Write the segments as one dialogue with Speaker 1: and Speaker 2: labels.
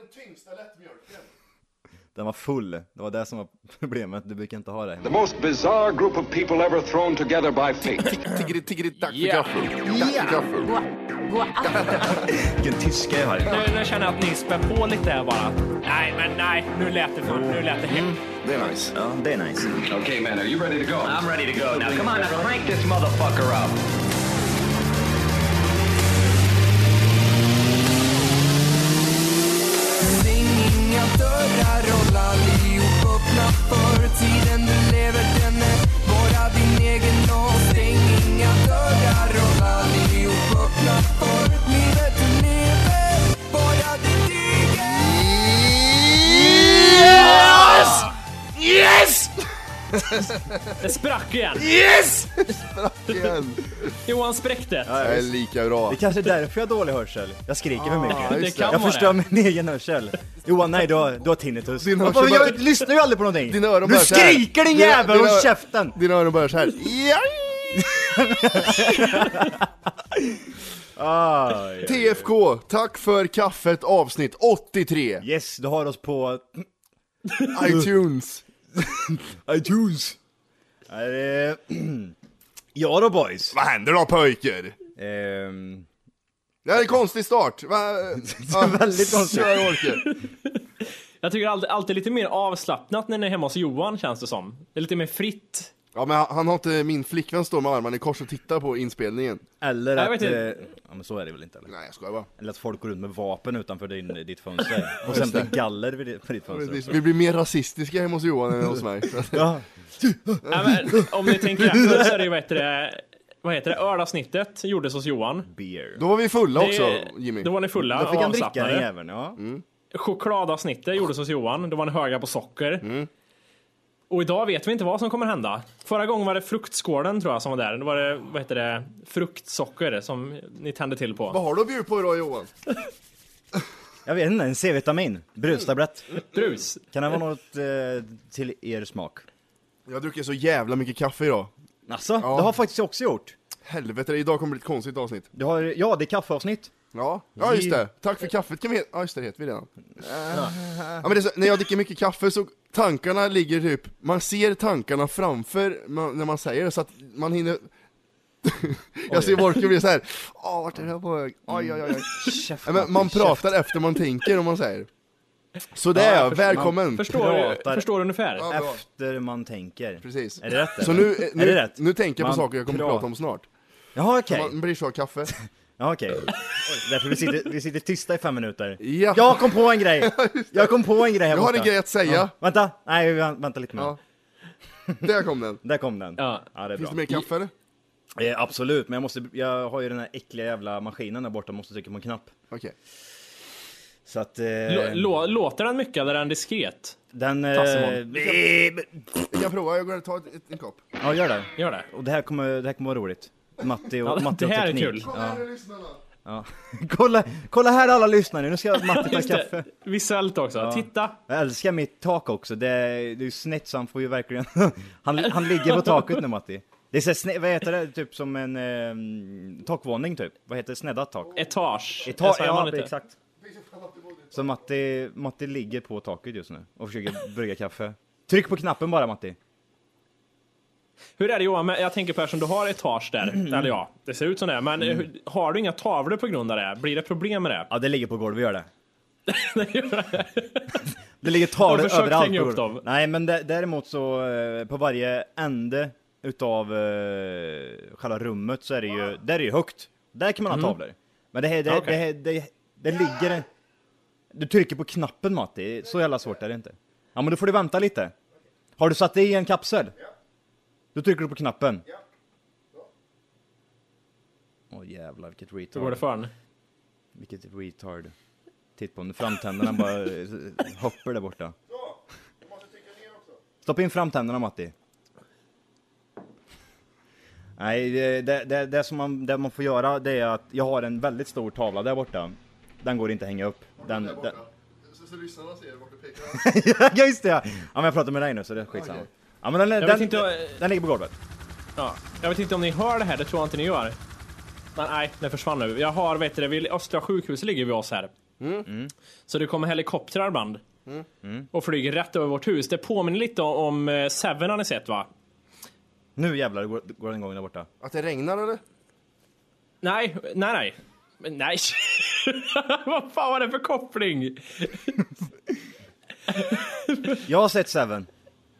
Speaker 1: den tyngsta lättmjölken.
Speaker 2: Den var full. Det var det som var problemet. Du brukar inte ha det.
Speaker 3: The most bizarre group of people ever thrown together by fate.
Speaker 4: Tiggeri, tiggeri, dack för
Speaker 5: Ja.
Speaker 4: gaffel. Dack för gaffel.
Speaker 2: Vilken tyska jag har.
Speaker 5: Nu, nu känner jag att ni spär på lite här bara. Nej, men nej. Nu lät det, fan, nu lät det hemskt.
Speaker 4: Det är nice.
Speaker 2: Ja, det är nice.
Speaker 3: Okay, man, are you ready to go?
Speaker 6: I'm ready to go now. Come on, now crank this motherfucker up.
Speaker 7: Stäng inga dörrar, håll allihop öppna för tiden du lever den är bara din egen och stäng inga dörrar, håll allihop öppna för livet du lever bara ditt eget
Speaker 5: Yes! Det sprack igen.
Speaker 4: Yes! Sprack igen.
Speaker 5: Johan spräckte.
Speaker 4: Det är lika bra.
Speaker 2: Det kanske är därför jag har dålig hörsel. Jag skriker
Speaker 4: Ah,
Speaker 2: för mycket.
Speaker 5: det kan
Speaker 2: Jag
Speaker 5: vara
Speaker 2: förstör
Speaker 5: det.
Speaker 2: min egen hörsel. Johan, nej du har, du har tinnitus.
Speaker 4: Din
Speaker 2: Vad
Speaker 4: hörsel
Speaker 2: fan, jag
Speaker 4: bara-
Speaker 2: lyssnar ju aldrig på någonting.
Speaker 4: Dina öron
Speaker 2: du
Speaker 4: bara så här.
Speaker 2: skriker din
Speaker 4: Dina-
Speaker 2: jävel,
Speaker 4: dina-
Speaker 2: håll käften!
Speaker 4: Dina öron börjar så här.
Speaker 2: Ah,
Speaker 4: TFK, tack för kaffet avsnitt 83.
Speaker 2: yes, du har oss på
Speaker 4: iTunes.
Speaker 2: iTunes. Nej, det- Ja då boys.
Speaker 4: Vad händer då pojkar?
Speaker 2: Ehm,
Speaker 4: Det här är en konstig start. Va? Ja,
Speaker 2: väldigt konstigt.
Speaker 4: kör, Orker.
Speaker 5: Jag tycker alltid, alltid lite mer avslappnat när ni är hemma hos Johan känns det som. Det är lite mer fritt.
Speaker 4: Ja men han, han har inte, min flickvän står med armarna i kors och tittar på inspelningen.
Speaker 2: Eller
Speaker 5: Jag
Speaker 2: att,
Speaker 5: vet inte.
Speaker 2: eh, ja men så är det väl inte eller?
Speaker 4: Nej jag skojar bara.
Speaker 2: Eller att folk går runt med vapen utanför din, ditt fönster. Och sen blir galler vid ditt, på ditt fönster
Speaker 4: Precis.
Speaker 2: också.
Speaker 4: Vi blir mer rasistiska hemma hos Johan än hos mig.
Speaker 2: Ja,
Speaker 5: Nej, men, om ni tänker efter så är det ju vad heter det, vad heter det, ölavsnittet gjordes hos Johan.
Speaker 2: beer.
Speaker 4: Då var vi fulla också
Speaker 5: Det,
Speaker 4: Jimmy.
Speaker 5: då var ni fulla
Speaker 2: Då fick
Speaker 5: och
Speaker 2: han dricka den
Speaker 5: avslappnade.
Speaker 2: jäveln, ja.
Speaker 5: Chokladavsnittet gjordes hos Johan. Då var ni höga på socker.
Speaker 2: Mm.
Speaker 5: Och idag vet vi inte vad som kommer hända. Förra gången var det fruktskålen tror jag som var där. Då var det, vad heter det, fruktsocker som ni tände till på.
Speaker 4: Vad har du att bjuda på idag Johan?
Speaker 2: Jag vet inte, en C-vitamin. Brustablett.
Speaker 5: Drus.
Speaker 2: Kan det vara något eh, till er smak?
Speaker 4: Jag har druckit så jävla mycket kaffe idag.
Speaker 2: Alltså, det har faktiskt jag också gjort.
Speaker 4: Helvete, idag kommer det bli ett konstigt avsnitt.
Speaker 2: Du har, ja, det är kaffeavsnitt.
Speaker 4: Ja, ja just det. Tack för kaffet kan vi he- Ja just det, det heter vi redan. Ja, men det är så, när jag dricker mycket kaffe så tankarna ligger typ, man ser tankarna framför man, när man säger det så att man hinner Jag ser Wolke bli såhär, åh vart är det här på väg? Oj, oj, oj, oj.
Speaker 2: Mm. Käft,
Speaker 4: Ja, Men man pratar efter man tänker om man säger. Sådär ja, välkommen!
Speaker 5: Förstår,
Speaker 2: Pratar.
Speaker 5: förstår ungefär.
Speaker 4: Ja, bra.
Speaker 2: Efter man tänker.
Speaker 4: Precis.
Speaker 2: Är det rätt?
Speaker 4: Så
Speaker 2: eller?
Speaker 4: nu, eh,
Speaker 2: Är
Speaker 4: nu,
Speaker 2: det rätt?
Speaker 4: nu tänker jag på
Speaker 2: Man
Speaker 4: saker jag kommer
Speaker 2: pra-
Speaker 4: prata om snart.
Speaker 2: Jaha okej.
Speaker 4: Man blir så av kaffe.
Speaker 2: Ja okej. Oj, Därför vi sitter, vi sitter tysta i fem minuter.
Speaker 4: Ja.
Speaker 2: Jag kom på en grej! Jag kom på en grej här
Speaker 4: Jag har
Speaker 2: borta.
Speaker 4: en grej att säga.
Speaker 2: Vänta, nej vä- vänta lite mer.
Speaker 4: Ja. Där kom den.
Speaker 2: Där kom den.
Speaker 5: Ja.
Speaker 2: det är
Speaker 4: Finns
Speaker 2: bra.
Speaker 4: det mer kaffe eller?
Speaker 2: Eh, absolut, men jag måste, jag har ju den här äckliga jävla maskinen där borta, måste trycka på en knapp.
Speaker 4: Okej.
Speaker 2: Så att, eh,
Speaker 5: Lå- lå- Låter den mycket eller är den diskret?
Speaker 2: den... Eh,
Speaker 5: Tassemon.
Speaker 4: Jag kan prova, jag går och tar ett, ett, en kopp.
Speaker 2: ja, gör det.
Speaker 5: Gör det.
Speaker 2: Och det här kommer, det här kommer vara roligt. Matte och,
Speaker 5: Ja, det-
Speaker 2: matte och
Speaker 5: det här är
Speaker 2: teknik.
Speaker 5: kul.
Speaker 2: Ja.
Speaker 4: Här är lyssnarna.
Speaker 2: Kolla, kolla här alla lyssnare, nu ska Matte ta
Speaker 5: Just
Speaker 2: kaffe.
Speaker 5: det. Visuellt också. Titta.
Speaker 2: Jag älskar mitt tak också, det är, det är ju snett så han får ju verkligen... han, han ligger på taket nu Matti. Det är så här snett, vad heter det, typ som en eh, takvåning typ? Vad heter det, sneddat tak?
Speaker 5: Etage.
Speaker 2: I
Speaker 5: Det
Speaker 2: ta-
Speaker 5: säger man
Speaker 2: ja,
Speaker 5: inte.
Speaker 2: exakt. Så Matti, Matti ligger på taket just nu och försöker brygga kaffe. Tryck på knappen bara Matti.
Speaker 5: Hur är det Johan, Men jag tänker på eftersom du har etage där, eller ja, det ser ut som det, men
Speaker 2: Mm.
Speaker 5: hur- har du inga tavlor på grund av det? Blir det problem med det?
Speaker 2: Ja, det ligger på golvet, gör det. det ligger tavlor
Speaker 5: Jag har försökt
Speaker 2: överallt.
Speaker 5: hänga
Speaker 2: på
Speaker 5: upp
Speaker 2: golvet.
Speaker 5: dem.
Speaker 2: Nej, men dä- däremot så eh, på varje ände utav eh, själva rummet så är det ju, där är det ju högt. Där kan man ha tavlor. Men det här, det,
Speaker 5: Ja, Mm. okej.
Speaker 2: det, här, det, det ligger... en- Du trycker på knappen Matti, så jävla svårt är det inte. Ja, men då får du vänta lite. Har du satt i en kapsel? Då trycker du på knappen. Åh jävlar vilket
Speaker 5: Hur går
Speaker 2: retard.
Speaker 5: det för den?
Speaker 2: Vilket retard. Titta på honom, framtänderna bara eh, hoppar där borta. Stoppa in framtänderna Matti. Nej, det, det- det, det som man, det man får göra det är att jag har en väldigt stor tavla där borta. Den går inte att hänga upp. Den,
Speaker 4: Där
Speaker 2: den,
Speaker 4: borta. Så, så lyssnarna ser vart du pekar.
Speaker 2: ja just det ja! Ja men jag pratar med dig nu så det är skitsamma.
Speaker 4: Okej.
Speaker 2: Ja men den,
Speaker 5: vet
Speaker 2: den,
Speaker 5: inte, eh,
Speaker 2: den ligger på golvet.
Speaker 5: Ja. Jag vet inte om ni hör det här, det tror jag inte ni gör. Men nej, den försvann nu. Jag har, vet du det, vid Östra sjukhuset ligger vi oss här. Mm. Så det kommer helikoptrar ibland. Mm. Och flyger rätt över vårt hus. Det påminner lite om eh, Seven har ni sett va?
Speaker 2: Nu jävlar går, går den igång där borta.
Speaker 4: Att det regnar eller?
Speaker 5: Nej, nej, nej. Men Nej. Vad fan var det för koppling?
Speaker 2: Jag har sett Seven.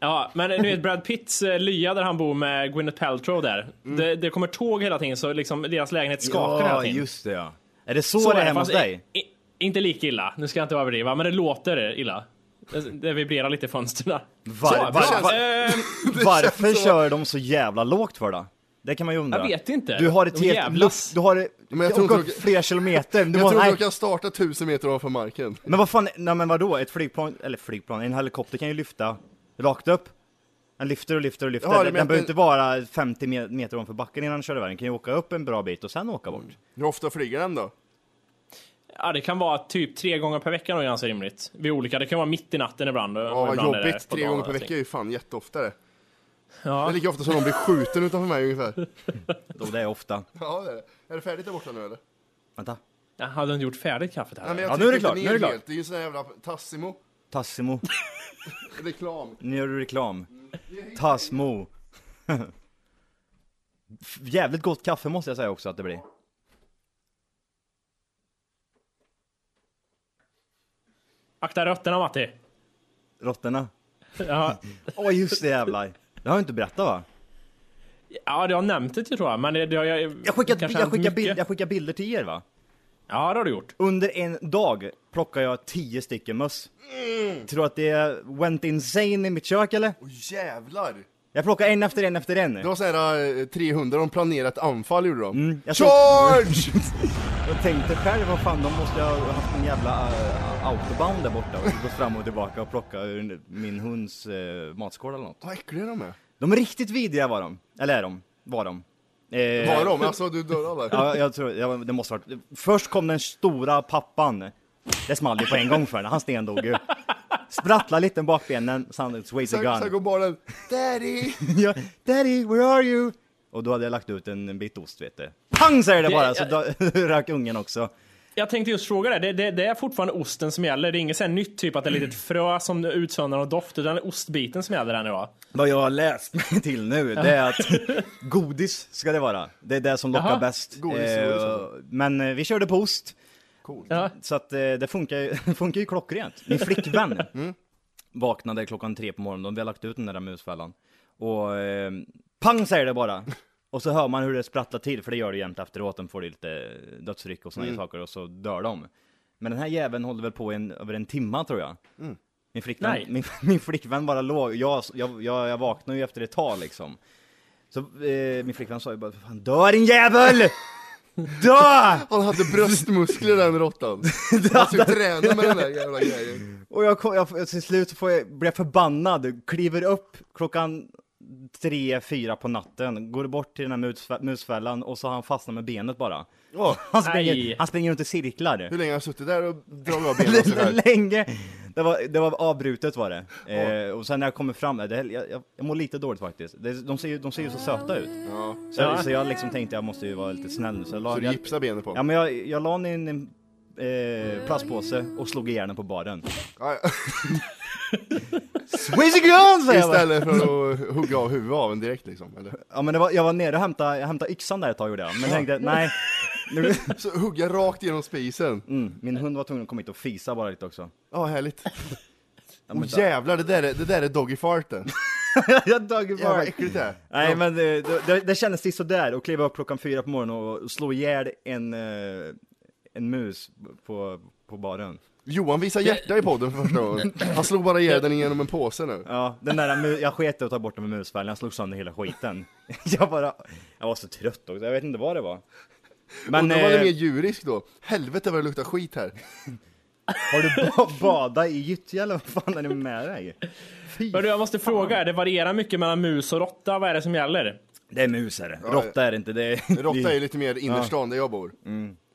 Speaker 5: Ja, men du vet Brad Pitts eh, lya där han bor med Gwyneth Paltrow där. Det, det kommer tåg hela tiden så liksom deras lägenhet skakar hela
Speaker 2: ja,
Speaker 5: tiden.
Speaker 2: just det ja. Är det så,
Speaker 5: Så
Speaker 2: det är
Speaker 5: är
Speaker 2: hemma hos
Speaker 5: fast
Speaker 2: dig?
Speaker 5: i- i- Inte lika illa, nu ska jag inte överdriva, men det låter illa. Det, det vibrerar lite i fönstren.
Speaker 2: Var, var,
Speaker 4: det känns-
Speaker 2: var,
Speaker 5: Ehm,
Speaker 2: varför kör de så jävla lågt för då? Det kan man ju undra.
Speaker 5: Jag vet inte.
Speaker 2: Du har ett
Speaker 5: De
Speaker 2: helt
Speaker 5: jävlas.
Speaker 2: luft, du har
Speaker 4: Men
Speaker 2: men
Speaker 4: jag tror
Speaker 2: jag
Speaker 4: inte
Speaker 2: åkt
Speaker 4: de-
Speaker 2: flera kilometer. Du
Speaker 4: Jag
Speaker 2: måste,
Speaker 4: tror
Speaker 2: nej,
Speaker 4: de kan starta tusen meter ovanför marken.
Speaker 2: Men vad fan, nej men vadå? Ett flygplan, eller flygplan, en helikopter kan ju lyfta rakt upp. Den lyfter och lyfter och lyfter.
Speaker 4: Ja, du
Speaker 2: den
Speaker 4: menar
Speaker 2: den behöver
Speaker 4: att
Speaker 2: inte vara 50 me- meter ovanför backen innan den kör iväg. Den kan ju åka upp en bra bit och sen åka bort.
Speaker 4: Hur ofta flyger den då?
Speaker 5: ja, det kan vara typ tre gånger per vecka nog är ganska rimligt. Vid olika, det kan vara mitt i natten ibland. och
Speaker 4: Ja,
Speaker 5: ibland är det
Speaker 4: jobbigt.
Speaker 5: på
Speaker 4: Tre
Speaker 5: dagen
Speaker 4: gånger per
Speaker 5: och
Speaker 4: vecka är ju fan jätteofta det. Det är
Speaker 5: allting.
Speaker 4: lika ofta som någon blir skjuten utanför mig ungefär.
Speaker 2: Då det är ofta.
Speaker 4: Ja, det är det. Är det färdigt där borta nu eller?
Speaker 2: Vänta.
Speaker 5: Ja, hade du inte gjort färdigt kaffet här?
Speaker 4: Nej, men jag
Speaker 2: Ja, nu
Speaker 4: trycker
Speaker 2: är det
Speaker 4: inte ner
Speaker 2: klart, nu är det klart.
Speaker 4: helt. Det är ju sån här jävla Tassimo.
Speaker 2: Tassimo.
Speaker 4: Reklam.
Speaker 2: Nu gör du reklam. Tassmo. F- Jävligt gott kaffe måste jag säga också att det blir.
Speaker 5: Akta rötterna Matti!
Speaker 2: Råttorna.
Speaker 5: Ja,
Speaker 2: Åh just det jävlar. Det har jag inte berättat va?
Speaker 5: ja du har nämnt det tror jag, men det, det har jag...
Speaker 2: Jag skickar,
Speaker 5: kanske
Speaker 2: jag,
Speaker 5: hänt
Speaker 2: skickar
Speaker 5: mycket.
Speaker 2: bild, jag skickar bilder till er va?
Speaker 5: Ja, det har du gjort.
Speaker 2: Under en dag plockar jag 10 stycken möss.
Speaker 4: Mm.
Speaker 2: Tror att det went insane i mitt kök eller?
Speaker 4: Åh jävlar!
Speaker 2: Jag plockar en efter en efter en.
Speaker 4: Det var sån här eh, 300, de planerade ett anfall gjorde de.
Speaker 2: Mm, jag såg-
Speaker 4: Charge!
Speaker 2: Jag tänkte själv, vad fan, de måste ha haft en jävla uh, autobahn där borta och gått fram och tillbaka och plockat ur min hunds eh, matskål eller något.
Speaker 4: Vad äckliga de är.
Speaker 2: De är riktigt vidriga var de. Eller är de? Var de? Eh,
Speaker 4: Var de? Alltså du dörrar där.
Speaker 2: Ja, jag tror, ja, det måste ha varit. Först kom den stora pappan. Det small ju på en gång för den, han stendog ju. Sprattla lite med bakbenen, sen squeeze the
Speaker 4: Sen, sen
Speaker 2: gun.
Speaker 4: går barnen, Daddy!
Speaker 2: Ja, Daddy, where are you? Och då hade jag lagt ut en, en bit ost vet du. Pang säger det
Speaker 5: Det-
Speaker 2: bara, så då rök ungen också.
Speaker 5: Jag tänkte just fråga det. Det, det, det är fortfarande osten som gäller. Det är inget så här nytt typ att det är litet frö som utsöndrar någon doft, utan det är ostbiten som gäller än idag.
Speaker 2: Vad jag har läst mig till nu, det är att godis ska det vara. Det är det som lockar
Speaker 5: Jaha.
Speaker 2: bäst.
Speaker 4: Godis,
Speaker 2: Eh,
Speaker 4: godis.
Speaker 2: men eh, vi körde på ost,
Speaker 5: Ja.
Speaker 2: så att eh, det funkar, ju- funkar ju klockrent. Min flickvän vaknade klockan tre på morgonen, vi har lagt ut den där musfällan. Och eh, pang säger det bara! Och så hör man hur det sprattlar till, för det gör det jämt efteråt, de får lite dödsryck och sådana saker, och så dör de. Men den här jäveln håller väl på en, över en timma tror jag. Min flickvän,
Speaker 5: Nej.
Speaker 2: min, min flickvän bara låg, jag, jag, jag, jag vaknade ju efter ett tag liksom. Så eh, min flickvän sa ju bara Fan, dö din jävel! Dö!
Speaker 4: Han hade bröstmuskler den råttan. Han skulle träna med den där jävla grejen.
Speaker 2: Och jag, kom, jag till slut så får jag, blir jag förbannad, kliver upp klockan tre, fyra på natten, går bort till den här musfä- musfällan och så har han fastnat med benet bara. han,
Speaker 5: Aj.
Speaker 2: springer, han springer runt i cirklar.
Speaker 4: Hur länge har han suttit där och dragit av benen och sådär?
Speaker 2: länge. Det var, det var avbrutet var det. Eh, och sen när jag kommer fram, det, jag, jag, jag mår lite dåligt faktiskt. Det, de, ser ju, de ser ju så söta ut. Så,
Speaker 5: Ja.
Speaker 2: så jag liksom tänkte jag måste ju vara lite snäll nu. Så jag la,
Speaker 4: Så du
Speaker 2: jag,
Speaker 4: gipsar benen på
Speaker 2: ja,
Speaker 4: honom?
Speaker 2: men jag, jag la ner en eh, plastpåse och slog ihjäl den på baren.
Speaker 4: Ja, ja.
Speaker 2: Squeezy gun säger jag bara.
Speaker 4: Istället för att hugga av huvudet av en direkt liksom, eller?
Speaker 2: Ja men det var, jag var nere och hämtade, jag hämtade yxan där ett tag gjorde jag. Men tänkte nej, nu,
Speaker 4: Så hugga rakt genom spisen.
Speaker 2: mm, min hund var tvungen att komma hit och fisa bara lite också.
Speaker 4: Ja, härligt.
Speaker 2: Ja, men
Speaker 4: Åh jävlar, det där är, det där är doggy farten.
Speaker 2: jag dog
Speaker 4: Jävlar vad
Speaker 2: bara.
Speaker 4: äckligt det är.
Speaker 2: Nej men eh, det, det, det kändes till sådär att kliva upp klockan fyra på morgonen och slå ihjäl en, eh, en mus på, på baren.
Speaker 4: Johan visar hjärta i podden för första gången. Han slog bara ihjäl den genom en påse nu.
Speaker 2: Ja, den där mu- jag sket i att ta bort den med musfällan, jag slog sönder hela skiten. Jag bara, jag var så trött också, jag vet inte vad det var. Men
Speaker 4: Undrar var det
Speaker 2: eh,
Speaker 4: mer djurisk då? Helvete vad det luktar skit här.
Speaker 2: har du ba- badat i gyttja eller vad fan är det med dig? Fy
Speaker 5: Men du, jag måste fråga, det varierar mycket mellan mus och råtta. Vad är det som gäller?
Speaker 2: Det är mus är det. Råtta är det inte. Det är...
Speaker 4: Råtta är ju lite mer innerstan där jag bor.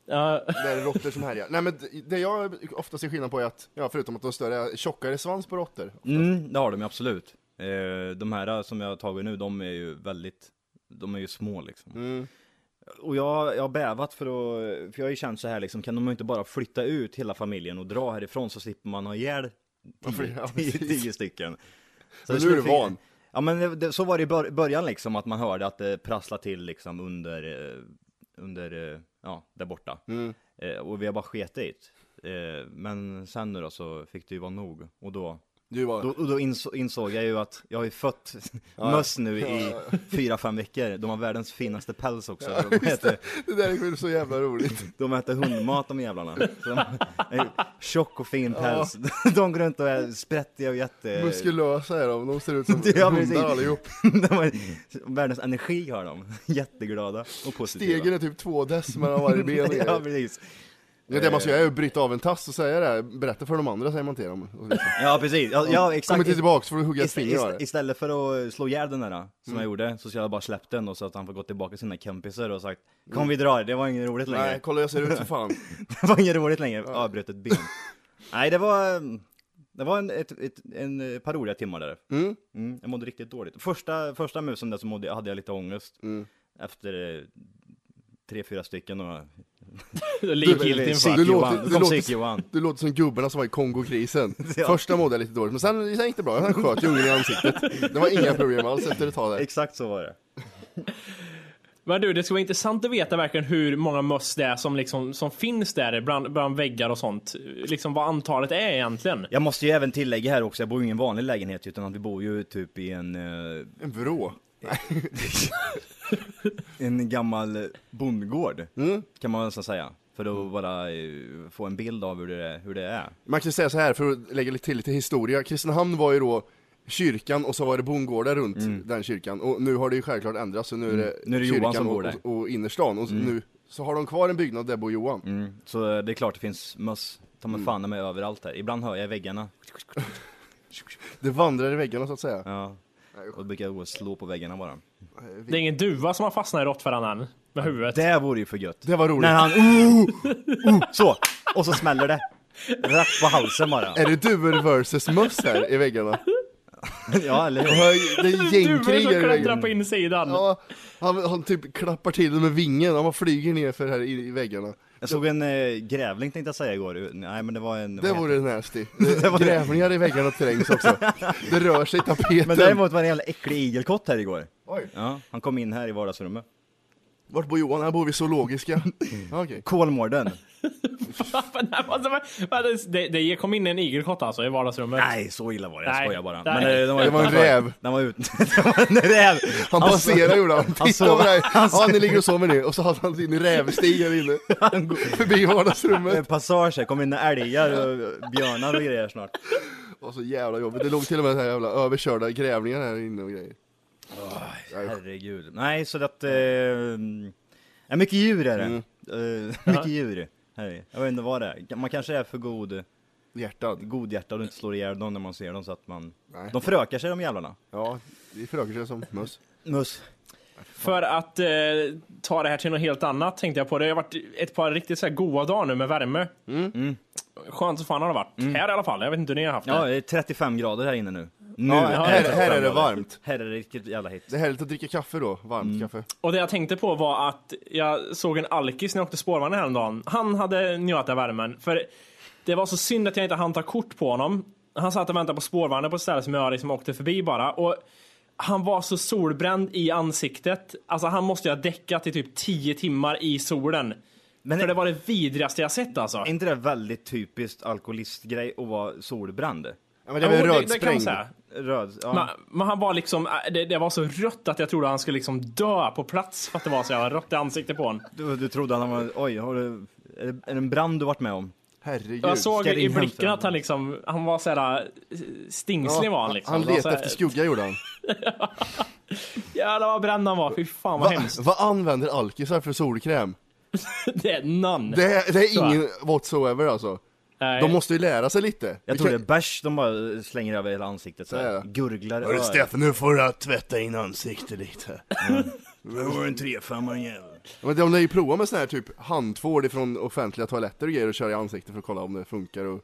Speaker 5: Ja,
Speaker 4: Där är råttor som härjar. Nej men det jag ofta ser skillnad på är att, ja förutom att de har större, tjockare svans på råttor.
Speaker 2: Mm, det har de ju absolut. Eh, de här som jag har tagit nu, de är ju väldigt, de är ju små liksom. Och jag, jag har bävat för att, för jag har ju känt så här liksom, kan de inte bara flytta ut hela familjen och dra härifrån så slipper man ha ihjäl tio,
Speaker 4: Ja,
Speaker 2: tio,
Speaker 4: precis.
Speaker 2: tio stycken. Så
Speaker 4: Men
Speaker 2: det
Speaker 4: nu är du
Speaker 2: skulle fin-
Speaker 4: van.
Speaker 2: Ja men det, det, så var det i bör, början liksom, att man hörde att det prasslade till liksom under, eh, under, eh, ja, där borta.
Speaker 4: Mm.
Speaker 2: Eh, och vi har bara sket i det. Eh, men sen nu då så fick det ju vara nog, och då
Speaker 4: Du var...
Speaker 2: då, och då inså, insåg jag ju att jag har ju fött möss nu i fyra, fem veckor. De har världens finaste päls också. de, äter,
Speaker 4: Det där är väl så jävla roligt.
Speaker 2: de äter hundmat de jävlarna. Så de, en tjock och fin päls. De går runt och är sprättiga och jätte...
Speaker 4: Muskulösa är de, de ser ut som
Speaker 2: Ja, precis.
Speaker 4: hundar allihop.
Speaker 2: De har, världens energi har de. Jätteglada och positiva.
Speaker 4: Stegen är typ två dess mellan varje ben.
Speaker 2: Ja, precis.
Speaker 4: det, det man ska göra är att bryta av en tass och säga det, här. berätta för de andra säger man till dem. Och liksom.
Speaker 2: Ja, precis. Ja, ja exakt.
Speaker 4: Kommer inte tillbaks får du hugga ett
Speaker 2: Ist-
Speaker 4: finger av
Speaker 2: ist-
Speaker 4: det. Mm.
Speaker 2: istället för att eh, slå ihjäl den där som jag gjorde, så skulle jag bara släppt den och så att han får gå tillbaka till sina kompisar och sagt Kom vi drar, det var inget roligt längre
Speaker 4: Mm. Nej, kolla jag ser ut för fan.
Speaker 2: Det var inget roligt längre, avbröt ett ben. Nej det var, eh, det var en, ett, ett, en eh, par roliga timmar där. Mm. jag mådde riktigt dåligt. Första, första musen där så mådde, jag- hade jag lite ångest.
Speaker 4: Mm.
Speaker 2: Efter eh, tre, fyra stycken och...
Speaker 5: Likgiltig
Speaker 2: Psyk
Speaker 5: infarkt.
Speaker 4: du låter-
Speaker 2: Johan,
Speaker 4: du
Speaker 2: kom
Speaker 4: låter-
Speaker 2: psyk-Johan.
Speaker 4: Du låter som gubbarna som var i Kongokrisen.
Speaker 2: Ja.
Speaker 4: Första mådde jag lite dåligt, men sen, sen gick det bra. Han sköt ju ungen i ansiktet. Det var inga problem alls efter ett tag där.
Speaker 2: Exakt så var det.
Speaker 5: Men du, det skulle vara intressant att veta verkligen hur många möss det är som, liksom, som finns där bland, bland väggar och sånt. Liksom vad antalet är egentligen.
Speaker 2: Jag måste ju även tillägga här också, jag bor ju i ingen vanlig lägenhet utan att vi bor ju typ i en, eh,
Speaker 4: En vrå.
Speaker 2: en gammal bondgård.
Speaker 4: Mm.
Speaker 2: Kan man nästan säga. För att bara eh, få en bild av hur det, hur det är.
Speaker 4: Man kan säga så här för att lägga lite till lite historia. Kristinehamn var ju då kyrkan och så var det bondgårdar runt den kyrkan. Och nu har det ju självklart ändrats så nu är det,
Speaker 2: Mm. Nu är det
Speaker 4: kyrkan
Speaker 2: Johan som bor
Speaker 4: och,
Speaker 2: där. Mm.
Speaker 4: och, och innerstan. Och nu så har de kvar en byggnad där bor Johan.
Speaker 2: Så det är klart det finns möss, ta
Speaker 4: Mm.
Speaker 2: mig fan med överallt här. Ibland hör jag i väggarna.
Speaker 4: Det vandrar i väggarna så att säga.
Speaker 2: Ja. Och då brukar jag gå och slå på väggarna bara.
Speaker 5: Det är ingen duva som har fastnat i råttfällan än, med huvudet.
Speaker 2: Det vore ju för gött.
Speaker 4: Det var roligt.
Speaker 2: När han, oh, oh, så! Och så smäller det. Rakt på halsen bara.
Speaker 4: Är det duvor versus möss här i väggarna?
Speaker 2: Ja, eller
Speaker 4: Och
Speaker 2: hur?
Speaker 4: här- Det är
Speaker 5: Duvor som
Speaker 4: gängkrigare i
Speaker 5: klättrar på
Speaker 4: väggarna.
Speaker 5: insidan.
Speaker 4: Ja, han, han typ klappar till dem med vingen, han bara flyger ner för här i, i väggarna.
Speaker 2: Jag såg en eh, grävling tänkte jag säga igår. Nej men det var en...
Speaker 4: Det
Speaker 2: vad heter
Speaker 4: vore nasty.
Speaker 2: var det.
Speaker 4: Grävningar i väggarna trängs också. Det rör sig i tapeten.
Speaker 2: Men däremot var det en jävla äcklig igelkott här igår.
Speaker 4: Oj.
Speaker 2: Ja, han kom in här i vardagsrummet.
Speaker 4: Vart bor Johan? Här bor vi zoologiska.
Speaker 2: Mm.
Speaker 4: Ja, Okej.
Speaker 2: Kolmården.
Speaker 5: Men det var så- men det- det, det kom in en igelkott alltså i vardagsrummet.
Speaker 2: Nej, så illa var det. Jag
Speaker 5: Nej,
Speaker 2: skojar bara.
Speaker 5: nej.
Speaker 2: Men, eh, den
Speaker 4: Det var en
Speaker 2: utanför.
Speaker 4: räv.
Speaker 2: Den var ute. det var en räv.
Speaker 4: Han passerar gjorde han. Titta
Speaker 2: sov-
Speaker 4: på dig.
Speaker 2: han
Speaker 4: Ja,
Speaker 2: sov-
Speaker 4: ni ligger och sover nu. Och så hade han sin rävstig här inne. Förbi
Speaker 2: Det är
Speaker 4: vardagsrummet.
Speaker 2: passager, kommer in älgar och björnar och grejer snart.
Speaker 4: Och så jävla jobbigt. Det låg till och med så här jävla överkörda grävningar här inne och grejer.
Speaker 2: Herregud. Nej, så att... Eh, ja, mycket djur är det.
Speaker 4: Mm.
Speaker 2: Eh, mycket djur. Här. Jag vet inte vad det är. Man kanske är för god,
Speaker 4: Hjärtad.
Speaker 2: god hjärta och inte slår ihjäl dem när man ser dem så att man...
Speaker 4: Nej.
Speaker 2: De förökar sig de jävlarna.
Speaker 4: Ja, det förökar sig som möss.
Speaker 2: Mus.
Speaker 5: För att eh, ta det här till något helt annat tänkte jag på. Det har varit ett par riktigt så här goa dagar nu med värme. Skönt som fan har det varit. Här i alla fall. Jag vet inte hur ni har haft
Speaker 2: Mm. Ja,
Speaker 5: det.
Speaker 2: det är 35 grader här inne nu. Nu
Speaker 4: Ja, här,
Speaker 5: det
Speaker 4: här är
Speaker 2: 35
Speaker 4: det
Speaker 2: grader.
Speaker 4: varmt.
Speaker 2: Här är det riktigt jävla hett.
Speaker 4: Det är härligt att dricka kaffe då. Varmt
Speaker 2: Mm.
Speaker 4: kaffe.
Speaker 5: Och det jag tänkte på var att jag såg en alkis när jag åkte spårvagnen häromdagen. Han hade njöt av värmen. För det var så synd att jag inte hann ta kort på honom. Han satt och väntade på spårvagnen på ett ställe som jag liksom åkte förbi bara. Och han var så solbränd i ansiktet. Alltså han måste ju ha däckat i typ 10 timmar i solen.
Speaker 2: Men
Speaker 5: För det var det vidrigaste jag sett alltså.
Speaker 2: är inte det väldigt typiskt alkoholistgrej att vara solbränd?
Speaker 4: Ja, men det är väl
Speaker 5: Jo, det kan man
Speaker 4: rödsprängd.
Speaker 5: säga.
Speaker 2: Röd, ja.
Speaker 5: Men, men han var liksom, äh, det, det var så rött att jag trodde han skulle liksom dö på plats för att det var så jävla rött i ansiktet på honom.
Speaker 2: Du, du trodde han var, oj, har du, är det, är det en brand du varit med om?
Speaker 4: Herregud.
Speaker 5: Jag såg
Speaker 2: ska det
Speaker 5: i blicken
Speaker 2: inhämta?
Speaker 5: att han liksom, han var såhär stingslig var han liksom.
Speaker 4: han
Speaker 5: Det var
Speaker 4: letade
Speaker 5: såhär,
Speaker 4: efter skugga gjorde han.
Speaker 5: Jävlar vad bränd han var, fy fan vad
Speaker 4: Va,
Speaker 5: hemskt.
Speaker 4: vad använder alkisar för solkräm?
Speaker 5: Det är none.
Speaker 4: Det är, det
Speaker 5: Så.
Speaker 4: är ingen whatsoever alltså.
Speaker 5: Nej.
Speaker 4: De måste ju lära sig lite.
Speaker 2: Jag
Speaker 4: Vi
Speaker 2: tror det
Speaker 4: kan-
Speaker 2: är bärs de bara slänger över hela ansiktet så
Speaker 4: Så är
Speaker 2: här.
Speaker 4: det.
Speaker 2: Gurglar
Speaker 4: Hörru Steffen, nu får du tvätta in ansiktet lite.
Speaker 2: Det var en trefemma jävel.
Speaker 4: Men de lär ju prova med sån här typ handtvål ifrån offentliga toaletter och grejer och köra i ansiktet för att kolla om det funkar och...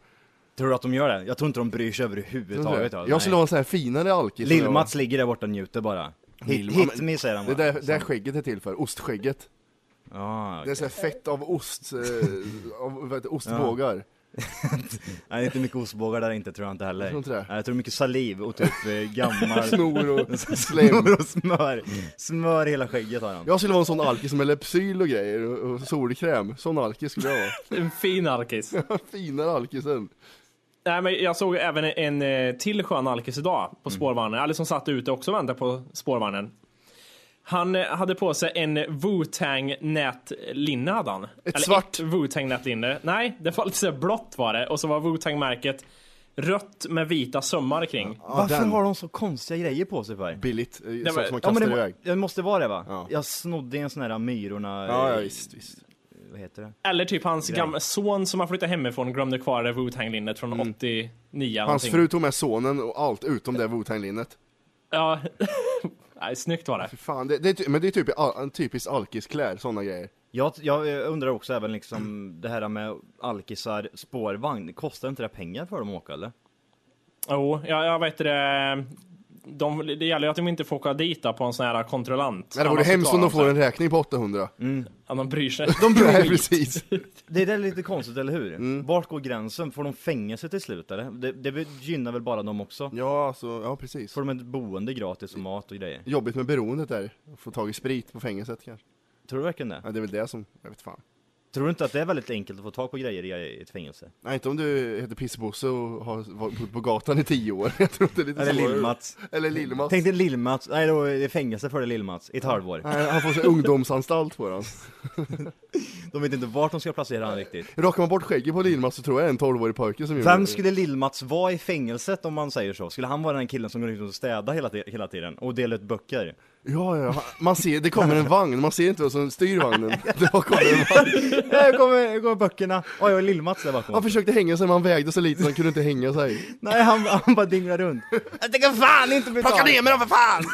Speaker 2: Tror du att de gör det? Jag tror inte de bryr sig överhuvudtaget. alltså. ja.
Speaker 4: Jag skulle
Speaker 2: Nej.
Speaker 4: ha en sån här finare alkis. som jag var.
Speaker 2: Lill-Mats ligger där borta och njuter bara. Hit,
Speaker 4: Lill-
Speaker 2: hit me säger han
Speaker 4: Det
Speaker 2: bara.
Speaker 4: där, det där skägget är till för, ostskägget.
Speaker 2: Ja,
Speaker 4: Det är
Speaker 2: okej.
Speaker 4: så här fett av ost, eh, av vad heter, det, ostbågar.
Speaker 2: Nej, inte mycket ostbågar där inte tror jag inte heller.
Speaker 4: Jag tror inte det.
Speaker 2: Nej, jag tror mycket saliv och typ eh, gammal...
Speaker 4: Snor och slem.
Speaker 2: Snor och smör. Smör hela skägget har han.
Speaker 4: Jag skulle vara en sån alkis som häller psyl och grejer och- och solkräm. Sån alkis skulle jag
Speaker 5: En fin alkis.
Speaker 4: vara. Finare alkis än.
Speaker 5: Nej, men jag såg även en eh, till skön alkis idag
Speaker 4: Mm.
Speaker 5: på spårvagnen. Eller som satt ute också och väntade på spårvagnen. Han eh, hade på sig en Wu-Tang nätlinne hade han. Ett
Speaker 4: svart.
Speaker 5: Ett Wu-Tang nätlinne. Nej, det var lite så här blått var det. Och så var Wu-Tang märket rött med vita sömmar kring.
Speaker 2: Varför
Speaker 4: den.
Speaker 2: har de så konstiga grejer på sig för?
Speaker 4: Billigt, eh, sånt som
Speaker 5: men-
Speaker 4: man
Speaker 2: Ja,
Speaker 4: kastar
Speaker 2: men det,
Speaker 4: iväg.
Speaker 2: det måste vara det va?
Speaker 4: Ja.
Speaker 2: Jag snodde en sån här Myrorna...
Speaker 4: Ja, ja
Speaker 2: eh,
Speaker 4: visst, visst.
Speaker 2: Vad heter det?
Speaker 5: Eller typ hans gamla son som han flyttade hemifrån och glömde kvar det Wu-Tang-linnet från 89
Speaker 4: Mm. Hans
Speaker 5: någonting.
Speaker 4: fru tog med sonen och allt utom det Wu-Tang-linnet.
Speaker 5: Ja. Nej, snyggt var det.
Speaker 4: Fy Fan, det, det, är ty- men det är typ al, typiskt alkiskläder, såna grejer.
Speaker 2: Jag, jag undrar också även liksom det här med alkisar spårvagn, kostar inte det pengar för dem att åka eller?
Speaker 5: Jo, jag, jag vet det. De, det gäller ju att de inte får åka dit då, på en sån här kontrollant.
Speaker 4: Nej, det vore
Speaker 5: Annars så
Speaker 4: hemskt om
Speaker 5: klarar
Speaker 4: de
Speaker 5: sig.
Speaker 4: får en räkning på 800.
Speaker 5: Ja, de bryr sig.
Speaker 4: Nej, precis.
Speaker 2: Det där är lite konstigt, eller hur?
Speaker 4: Mm.
Speaker 2: Vart går gränsen? Får de fängelse till slut eller? Det, det gynnar väl bara dem också?
Speaker 4: Ja, alltså, ja precis.
Speaker 2: Får de ett boende gratis och mat och grejer?
Speaker 4: Jobbigt med beroendet där. Få tag i sprit på fängelset kanske.
Speaker 2: Tror du verkligen det?
Speaker 4: Ja, det är väl det som, jag vet fan.
Speaker 2: Tror du inte att det är väldigt enkelt att få tag på grejer i i ett fängelse?
Speaker 4: Nej, inte om du heter Pissebosse och har varit- bott på gatan i tio år. Jag tror det är lite
Speaker 2: Eller
Speaker 4: svårare.
Speaker 2: Lill-Mats.
Speaker 4: Eller Lill-Mats.
Speaker 2: Tänk dig Lill-Mats, nej då är det fängelse för det Lill-Mats i ett halvår.
Speaker 4: Nej, han får sig ungdomsanstalt på den.
Speaker 2: De vet inte vart de ska placera han riktigt.
Speaker 4: Rakar man bort skägget på Lill-Mats så tror jag det är en 12-årig pojke som gjorde
Speaker 2: Vem
Speaker 4: det.
Speaker 2: skulle Lill-Mats vara i fängelset om man säger så? Skulle han vara den killen som går ut och städar hela, ti- hela tiden och delar ut böcker?
Speaker 4: Ja, ja, han- man ser, det kommer en vagn, man ser inte vem som styr vagnen. Det bara kommer en vagn.
Speaker 2: Här kommer, här kommer böckerna! Oj, jag är Lill-Mats där bakom.
Speaker 4: Han försökte hänga sig men han vägde så lite så han kunde inte hänga sig.
Speaker 2: Nej, han, han bara dinglar runt. Jag tänker fan inte bli
Speaker 4: Plocka
Speaker 2: av.
Speaker 4: ner mig då för fan!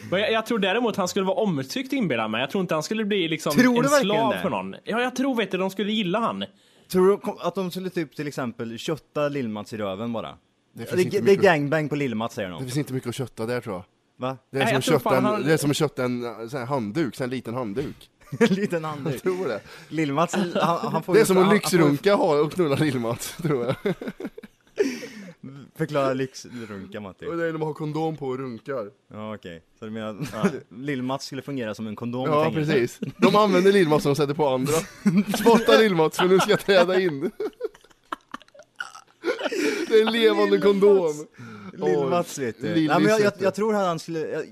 Speaker 5: Men jag, jag tror däremot han skulle vara omtyckt inbillar jag mig. Jag tror inte han skulle bli liksom
Speaker 2: Tror du
Speaker 5: en
Speaker 2: verkligen
Speaker 5: slav
Speaker 2: det?
Speaker 5: för någon. Ja, jag tror vet du, de skulle gilla han.
Speaker 2: Tror du att de skulle typ till exempel kötta Lill-Mats i röven bara? Det,
Speaker 4: finns inte
Speaker 2: det, är
Speaker 4: mycket-
Speaker 2: gangbang på Lill-Mats säger
Speaker 4: Det
Speaker 2: de.
Speaker 4: finns inte mycket att kötta där tror jag.
Speaker 2: Va?
Speaker 4: Det är,
Speaker 5: Nej, jag
Speaker 4: som,
Speaker 5: tror
Speaker 4: att kötta
Speaker 5: fan
Speaker 4: en,
Speaker 5: han-
Speaker 4: det är som att kötta en sån här handduk, sån här liten handduk.
Speaker 2: En liten handduk.
Speaker 4: Tror det.
Speaker 2: Lill-Mats, han, han får
Speaker 4: Det är
Speaker 2: ju-
Speaker 4: som att
Speaker 2: han- han
Speaker 4: lyxrunka ha och knulla Lill-Mats, tror jag.
Speaker 2: får Förklara lyxrunka Matti.
Speaker 4: Och det är när man har kondom på och runkar.
Speaker 2: Ja okej, så du menar Lill-Mats skulle fungera som en kondom i
Speaker 4: Ja,
Speaker 2: fängelset?
Speaker 4: precis. De använder Lill-Mats som de sätter på andra. Spotta Lill-Mats för nu ska jag träda in. Det är en levande kondom.
Speaker 2: Lill-Mats vet du.
Speaker 4: Lillis
Speaker 2: Nej, men jag, jag,
Speaker 4: vet du.
Speaker 2: jag tror han skulle, jag,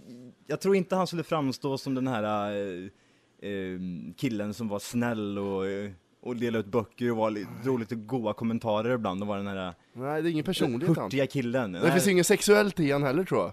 Speaker 2: jag tror inte han skulle framstå som den här eh, eh, killen som var snäll och, eh, och delade ut böcker och var, li- drog lite goa kommentarer ibland och var den här eh,
Speaker 4: Nej, det är ingen personlighet han.
Speaker 2: hurtiga killen.
Speaker 4: Det finns ju inget sexuellt i han heller tror jag.